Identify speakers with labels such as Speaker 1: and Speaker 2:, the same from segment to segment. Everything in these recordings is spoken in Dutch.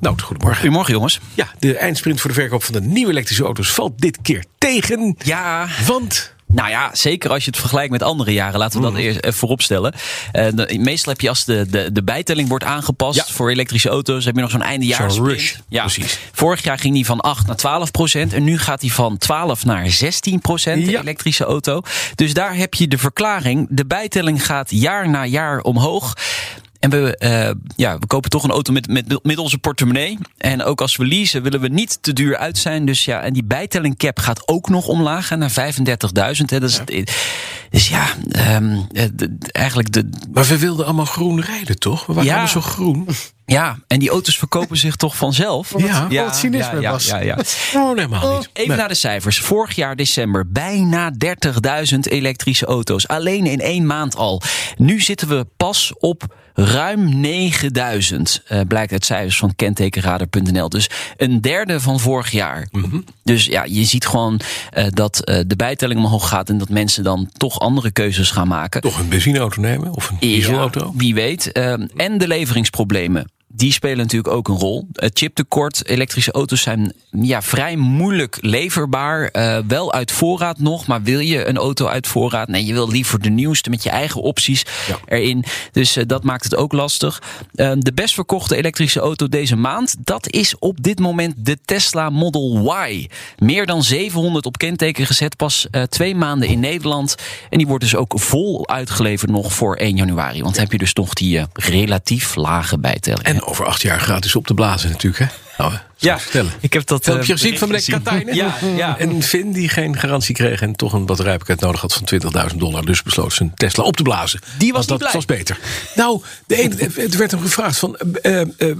Speaker 1: Nout, goedemorgen.
Speaker 2: Goedemorgen jongens.
Speaker 1: Ja, de eindsprint voor de verkoop van de nieuwe elektrische auto's valt dit keer tegen.
Speaker 2: Ja.
Speaker 1: Want
Speaker 2: Nou ja, zeker als je het vergelijkt met andere jaren. Laten we dat eerst even vooropstellen. Eh, de- meestal heb je als de, de, de bijtelling wordt aangepast
Speaker 1: Ja.
Speaker 2: voor elektrische auto's... heb je nog zo'n eindejaars
Speaker 1: Zo'n rush,
Speaker 2: Ja.
Speaker 1: precies.
Speaker 2: Vorig jaar ging die van 8 naar 12 procent. En nu gaat die van 12 naar 16 procent, de
Speaker 1: Ja.
Speaker 2: elektrische auto. Dus daar heb je de verklaring. De bijtelling gaat jaar na jaar omhoog. En we, eh, ja, we kopen toch een auto met, met, met onze portemonnee. En ook als we leasen willen we niet te duur uit zijn. Dus ja, en die bijtelling cap gaat ook nog omlaag hè, naar 35.000. hè. Dat is, Dus ja, ehm, eh, de- de- eigenlijk de...
Speaker 1: Maar we wilden allemaal groen rijden, toch? We waren
Speaker 2: Ja.
Speaker 1: allemaal zo groen.
Speaker 2: Ja, en die auto's verkopen zich toch vanzelf.
Speaker 1: Ja.
Speaker 3: Wat het cynisme
Speaker 2: ja,
Speaker 3: was.
Speaker 2: Ja, ja, ja.
Speaker 1: Oh, nee, helemaal niet.
Speaker 2: Even naar de cijfers. Vorig jaar december bijna 30.000 elektrische auto's. Alleen in één maand al. Nu zitten we pas op ruim 9.000. eh, blijkt uit cijfers van kentekenradar.nl. Dus een derde van vorig jaar.
Speaker 1: Mhm.
Speaker 2: Dus ja, je ziet gewoon eh, dat eh, de bijtelling omhoog gaat. En dat mensen dan toch andere keuzes gaan maken.
Speaker 1: Toch een benzineauto nemen of een dieselauto.
Speaker 2: Ja, wie weet. Ehm, en de leveringsproblemen. Die spelen natuurlijk ook een rol. Het chiptekort, elektrische auto's zijn ja, vrij moeilijk leverbaar. Eh, wel uit voorraad nog, maar wil je een auto uit voorraad? Nee, je wil liever de nieuwste met je eigen opties erin. Dus eh, dat maakt het ook lastig. Ehm, de best verkochte elektrische auto deze maand, dat is op dit moment de Tesla Model Y. Meer dan 700 op kenteken gezet, pas eh, twee maanden in Nederland. En die wordt dus ook vol uitgeleverd nog voor 1 januari. Want dan heb je dus nog die eh, relatief lage bijtelling.
Speaker 1: En over acht jaar gratis op te blazen natuurlijk, hè? Nou, ja. vertellen.
Speaker 2: ik heb dat eh,
Speaker 1: Filmpje gezien van meneer Katainen.
Speaker 2: Ehm, Ja, ja.
Speaker 1: En Finn, die geen garantie kreeg en toch een batterijpakket nodig had van 20.000 dollar. Dus besloot zijn Tesla op te blazen.
Speaker 2: Die was
Speaker 1: Want
Speaker 2: niet
Speaker 1: dat was
Speaker 2: blij.
Speaker 1: beter. Nou, de ene, het werd hem gevraagd van, eh, eh,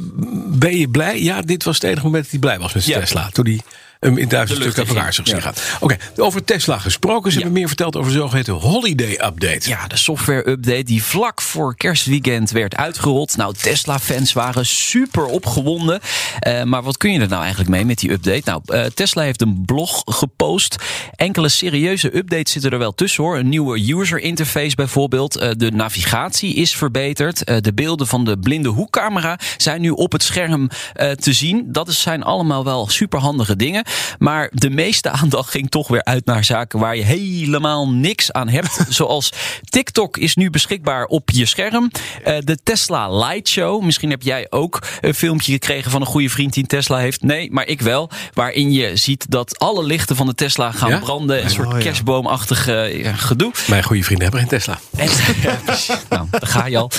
Speaker 1: ben je blij? Ja, dit was het enige moment dat hij blij was met zijn
Speaker 2: Ja.
Speaker 1: Tesla. Toen hij hem in duizend
Speaker 2: De lucht
Speaker 1: stukken uit elkaar
Speaker 2: in
Speaker 1: zag
Speaker 2: ging.
Speaker 1: zien gaan. Oké, over Tesla gesproken. Ze hebben meer verteld over de zogeheten holiday update.
Speaker 2: Ja, de software-update die vlak voor kerstweekend werd uitgerold. Nou, Tesla-fans waren super opgewonden. Eh, maar wat kun je er nou eigenlijk mee met die update? Nou, eh, Tesla heeft een blog gepost. Enkele serieuze updates zitten er wel tussen hoor. Een nieuwe user interface bijvoorbeeld. Eh, de navigatie is verbeterd. Eh, de beelden van de blinde hoekcamera zijn nu op het scherm eh, te zien. Dat is, zijn allemaal wel superhandige dingen. Maar de meeste aandacht ging toch weer uit naar zaken waar je helemaal niks aan hebt. Zoals TikTok is nu beschikbaar op je scherm. Eh, de Tesla Light Show. Misschien heb jij ook een filmpje gekregen van een goede vriend die een Tesla heeft. Nee, maar ik wel. Waarin je ziet dat alle lichten van de Tesla gaan
Speaker 1: Ja?
Speaker 2: branden. Een soort
Speaker 3: ja.
Speaker 2: kerstboomachtig eh, ja, gedoe.
Speaker 1: Mijn goede vrienden hebben geen Tesla.
Speaker 2: En, ja, precies. nou, daar ga je al.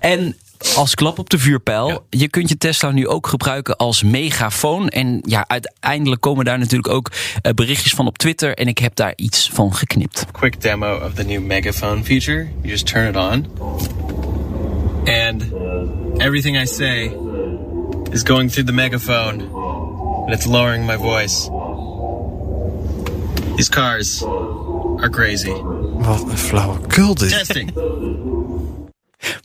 Speaker 2: En als klap op de vuurpijl,
Speaker 1: Ja.
Speaker 2: je kunt je Tesla nu ook gebruiken als megafoon. En ja, uiteindelijk komen daar natuurlijk ook eh, berichtjes van op Twitter. En ik heb daar iets van geknipt.
Speaker 4: quick demo of the new megaphone feature. You just turn it on, and everything I say is going through the megaphone, and it's lowering my voice. These cars are crazy.
Speaker 3: Wat een flauwekul dit.
Speaker 4: Testing.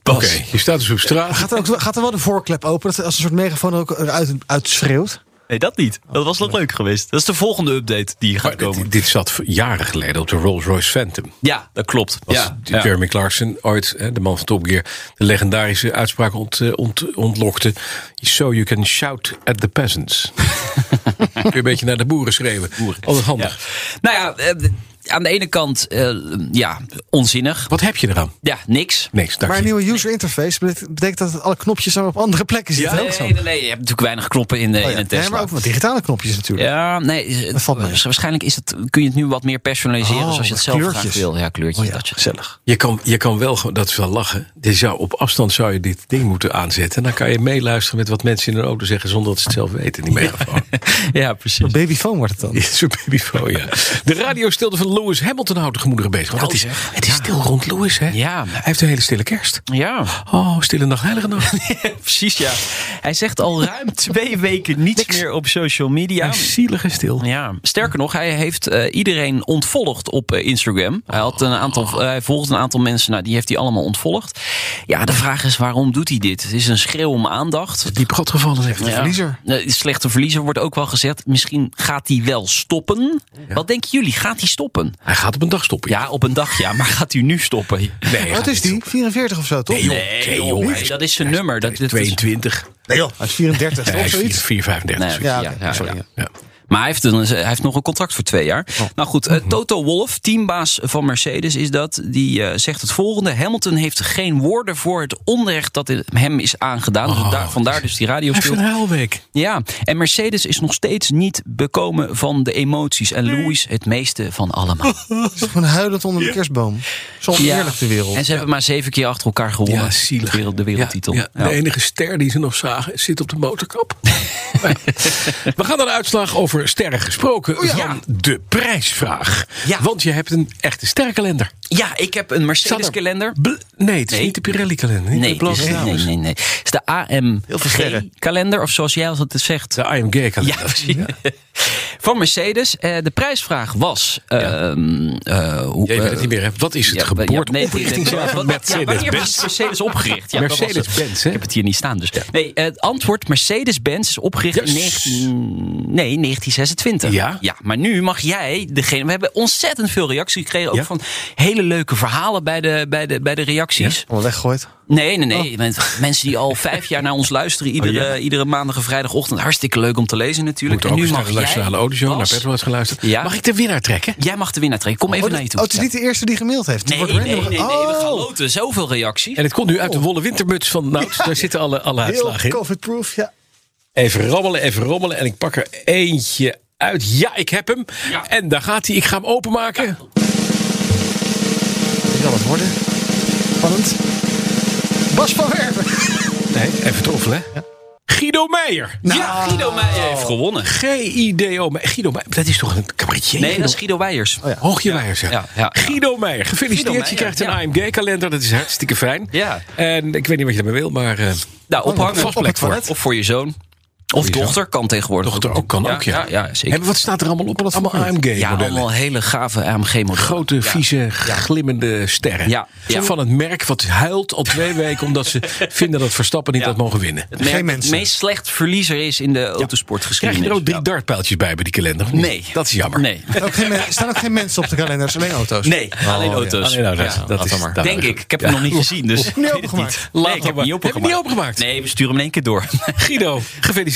Speaker 1: Oké, je staat dus op straat.
Speaker 3: Gaat er, ook, gaat er wel de voorklep open dat er als een soort megafoon er ook eruit uitschreeuwt?
Speaker 2: Nee, dat niet. Dat was nog leuk geweest. Dat is de volgende update die gaat
Speaker 3: Oh,
Speaker 1: Maar dit, dit zat jaren geleden op de Rolls-Royce Phantom.
Speaker 2: Ja, dat klopt.
Speaker 1: Was
Speaker 2: Ja,
Speaker 1: die Jeremy Clarkson ooit, hè, de man van Top Gear, de legendarische uitspraak ont, eh, ont- ontlokte. So you can shout at the peasants. Kun je een beetje naar de boeren schreeuwen. Altijd handig.
Speaker 2: Nou ja, eh, aan de ene kant, eh, ja, onzinnig.
Speaker 1: Wat heb je eraan?
Speaker 2: Ja, niks.
Speaker 1: Niks, dank
Speaker 3: Maar een
Speaker 1: je.
Speaker 3: nieuwe user interface betekent, betekent dat alle knopjes dan op andere plekken zitten.
Speaker 2: nee,
Speaker 3: hè?
Speaker 2: nee, nee, je hebt natuurlijk weinig knoppen in, de,
Speaker 3: Oh ja.
Speaker 2: in een Tesla.
Speaker 3: Nee, maar ook met digitale knopjes natuurlijk.
Speaker 2: Ja, nee. het-
Speaker 3: valt mee.
Speaker 2: Waarschijnlijk is het, kun je het nu wat meer personaliseren
Speaker 3: Oh,
Speaker 2: zoals je het zelf graag
Speaker 3: kleurtjes.
Speaker 2: wil. Ja, kleurtjes.
Speaker 3: Oh ja,
Speaker 2: dat je-
Speaker 3: gezellig.
Speaker 1: Je kan, je kan wel, gewoon- dat is wel lachen. Je zou, op afstand zou je dit ding moeten aanzetten. En dan kan je meeluisteren met wat mensen in hun auto zeggen zonder dat ze het zelf weten. Die megafoon.
Speaker 2: Ja, precies.
Speaker 3: Babyfoon wordt het dan.
Speaker 1: Zo'n babyfoon, ja. De radiostilte van Lewis Hamilton houdt de gemoederen bezig. Want
Speaker 2: Nou,
Speaker 1: het, is,
Speaker 2: zeg.
Speaker 1: het is stil rond Lewis, hè?
Speaker 2: Ja.
Speaker 1: Hij heeft een hele stille kerst.
Speaker 2: Ja,
Speaker 1: Oh, stille nacht, heilige nacht.
Speaker 2: precies ja. Hij zegt al ruim twee weken niets meer op social media.
Speaker 1: Hij is zielig en stil.
Speaker 2: Ja, sterker nog, hij heeft eh, iedereen ontvolgd op eh, Instagram. Hij, had een aantal,
Speaker 3: Oh.
Speaker 2: eh, hij volgt een aantal mensen, nou, die heeft hij allemaal ontvolgd. Ja, de vraag is waarom doet hij dit? Het is een schreeuw om aandacht.
Speaker 1: Diep gat gevallen, zegt hij.
Speaker 2: Ja. Eh, Slechte verliezer wordt ook wel gezegd. Misschien gaat hij wel stoppen. Wat denken jullie? Gaat hij stoppen?
Speaker 1: Hij gaat op een dag stoppen.
Speaker 2: Ja, op een dag ja, maar gaat hij nu stoppen? Nee,
Speaker 1: Nee, hij
Speaker 3: Wat
Speaker 1: gaat
Speaker 3: is
Speaker 1: niet
Speaker 3: die? 44 of zo, toch?
Speaker 1: joh.
Speaker 2: joh,
Speaker 1: joh,
Speaker 2: nee, dat is zijn nummer. Dat, dat is,
Speaker 1: 22.
Speaker 3: Nee, joh. Hij is 34
Speaker 1: Nee, hij
Speaker 3: of
Speaker 1: is
Speaker 3: zoiets.
Speaker 1: 4, 35.
Speaker 2: Nee,
Speaker 1: zoiets.
Speaker 2: ja,
Speaker 3: oké,
Speaker 2: ja,
Speaker 1: sorry.
Speaker 2: ja.
Speaker 1: Ja. Oh.
Speaker 2: Maar hij heeft, een, hij heeft nog een contract voor twee jaar. Nou goed, eh,
Speaker 1: Mhm.
Speaker 2: Toto Wolff, teambaas van Mercedes is dat. Die eh, zegt het volgende. Hamilton heeft geen woorden voor het onrecht dat hem is aangedaan.
Speaker 1: Oh,
Speaker 2: Dus daar, vandaar dus die radio
Speaker 1: Hij heeft een huilweek.
Speaker 2: Ja, en Mercedes is nog steeds niet bekomen van de emoties. En Louis het meeste van allemaal.
Speaker 1: Oh,
Speaker 3: Het is gewoon huilend onder de kerstboom. Zo oneerlijk de wereld.
Speaker 2: En ze hebben maar zeven keer achter elkaar gewonnen.
Speaker 1: Ja, zielig.
Speaker 2: De, wereld- de wereldtitel.
Speaker 1: Ja, ja.
Speaker 2: Ja.
Speaker 1: De enige ster die ze nog zagen zit op de motorkap. Ja. We gaan naar de uitslag over sterren gesproken van de prijsvraag.
Speaker 2: Oh Ja.
Speaker 1: Want je hebt een echte sterrenkalender.
Speaker 2: Ja, ik heb een
Speaker 1: Staat er
Speaker 2: Mercedes-kalender.
Speaker 1: bl- Nee, het is
Speaker 2: Nee.
Speaker 1: niet de Pirelli-kalender. niet
Speaker 2: Nee,
Speaker 1: de
Speaker 2: het is- nee, nee, nee. Het is de
Speaker 3: Heel veel sterren.
Speaker 2: AMG-kalender, of zoals jij altijd zegt.
Speaker 1: De IMG-kalender.
Speaker 2: Ja, precies. Van Mercedes. Eh, de prijsvraag was... ehm, eh, hoe,
Speaker 1: Jij weet
Speaker 2: eh,
Speaker 1: het niet meer, hè? Wat is het
Speaker 2: ja, ja, nee,
Speaker 1: geboorteoprichtingsjaar
Speaker 2: nee,
Speaker 1: van
Speaker 2: wat- ja, Wanneer
Speaker 1: Mercedes-Benz?
Speaker 2: was Mercedes opgericht? Ja, dat was het.
Speaker 1: Mercedes-Benz, hè?
Speaker 2: Ik heb het hier niet staan. Dus. Nee, eh, het antwoord Mercedes-Benz is opgericht
Speaker 1: Yes.
Speaker 2: in 19, nee, 1926.
Speaker 1: Ja?
Speaker 2: maar nu mag jij degene... We hebben ontzettend veel reacties gekregen. Ook
Speaker 1: Ja?
Speaker 2: van hele leuke verhalen bij de, bij de, bij de reacties.
Speaker 3: Allemaal weggegooid.
Speaker 2: Nee, nee, nee.
Speaker 1: Oh.
Speaker 2: Men- Mensen die al vijf jaar naar ons luisteren. Iedere, iedere maandag en vrijdagochtend. Hartstikke leuk om te lezen natuurlijk.
Speaker 1: Moet er ook
Speaker 2: en nu
Speaker 1: eens naar
Speaker 2: mag
Speaker 1: de
Speaker 2: jij,
Speaker 1: Nationale Audio, naar
Speaker 2: Bas,
Speaker 1: Petrol is geluisterd.
Speaker 2: Ja.
Speaker 1: Mag ik de winnaar trekken?
Speaker 2: Jij mag de winnaar trekken. Kom even
Speaker 3: Oh,
Speaker 2: naar
Speaker 3: dat-
Speaker 2: je toe.
Speaker 3: oh, het is niet de eerste die gemaild heeft.
Speaker 2: Nee,
Speaker 3: Het
Speaker 2: nee,
Speaker 3: wordt
Speaker 2: nee, nee,
Speaker 3: random ge-
Speaker 2: nee, we gaan
Speaker 3: Oh,
Speaker 2: loten. Zoveel reacties.
Speaker 1: En het komt nu uit de wollen wintermuts van Nout. Daar zitten alle, alle uitslagen
Speaker 3: heel
Speaker 1: in.
Speaker 3: covid-proof, ja.
Speaker 1: Even rammelen, even rommelen. En ik pak er eentje uit. Ja, ik heb hem.
Speaker 2: Ja.
Speaker 1: En daar gaat hij. Ik ga hem openmaken.
Speaker 3: Dat kan het worden. Spannend. Bas van Werven.
Speaker 1: Nee, even troffelen. hè? Guido Meijer.
Speaker 2: Ja, Guido Meijer heeft gewonnen.
Speaker 1: G-I-D-O. Meijer. Guido Meijer. Dat is toch een cabaretier?
Speaker 2: Nee, dat is Guido
Speaker 1: Oh
Speaker 2: Weijers.
Speaker 3: ja.
Speaker 1: Hoogje Meijer, zeg.
Speaker 2: Ja, ja, ja.
Speaker 1: Guido Meijer. Gefeliciteerd.
Speaker 2: Guido
Speaker 1: je
Speaker 2: Meijer,
Speaker 1: krijgt een AMG-kalender. Dat is hartstikke fijn.
Speaker 2: Ja.
Speaker 1: En ik weet niet wat je ermee wil, maar... eh,
Speaker 2: Nou, ophangen.
Speaker 1: Vast plek voor.
Speaker 2: Of voor je zoon. Of dochter kan tegenwoordig.
Speaker 1: Dochter ook kan ook, ja.
Speaker 2: Ja, ja, zeker.
Speaker 1: en wat staat er allemaal op? Allemaal
Speaker 2: Ja,
Speaker 1: AMG-modellen.
Speaker 2: allemaal hele gave AMG-modellen.
Speaker 1: Grote, vieze, glimmende sterren.
Speaker 2: Ja, ja.
Speaker 1: Van het merk wat huilt al twee weken... omdat ze vinden dat Verstappen niet had mogen winnen.
Speaker 2: Het merk dat
Speaker 3: mensen.
Speaker 2: Het meest slecht verliezer is in de
Speaker 1: Krijg je
Speaker 2: autosportgeschiedenis.
Speaker 1: er ook drie
Speaker 2: Ja.
Speaker 1: dartpijltjes bij bij die kalender? of niet?
Speaker 2: Nee.
Speaker 1: Dat is jammer.
Speaker 2: Nee.
Speaker 3: Er staan ook geen men- er staan ook geen mensen op de kalenders, alleen auto's.
Speaker 2: Nee, alleen auto's.
Speaker 1: Alleen nou, dat,
Speaker 2: Ja.
Speaker 1: dat is dat-
Speaker 2: Denk ik. Ik heb hem nog niet gezien, dus ik
Speaker 3: niet
Speaker 2: weet het
Speaker 3: opengemaakt.
Speaker 1: Laat
Speaker 2: niet. Nee, ik heb hem
Speaker 1: maar.
Speaker 2: niet
Speaker 1: Heb je
Speaker 2: opengemaakt.
Speaker 1: niet opengemaakt?
Speaker 2: Nee, we sturen hem in één keer door.
Speaker 1: Guido, gefeliciteerd.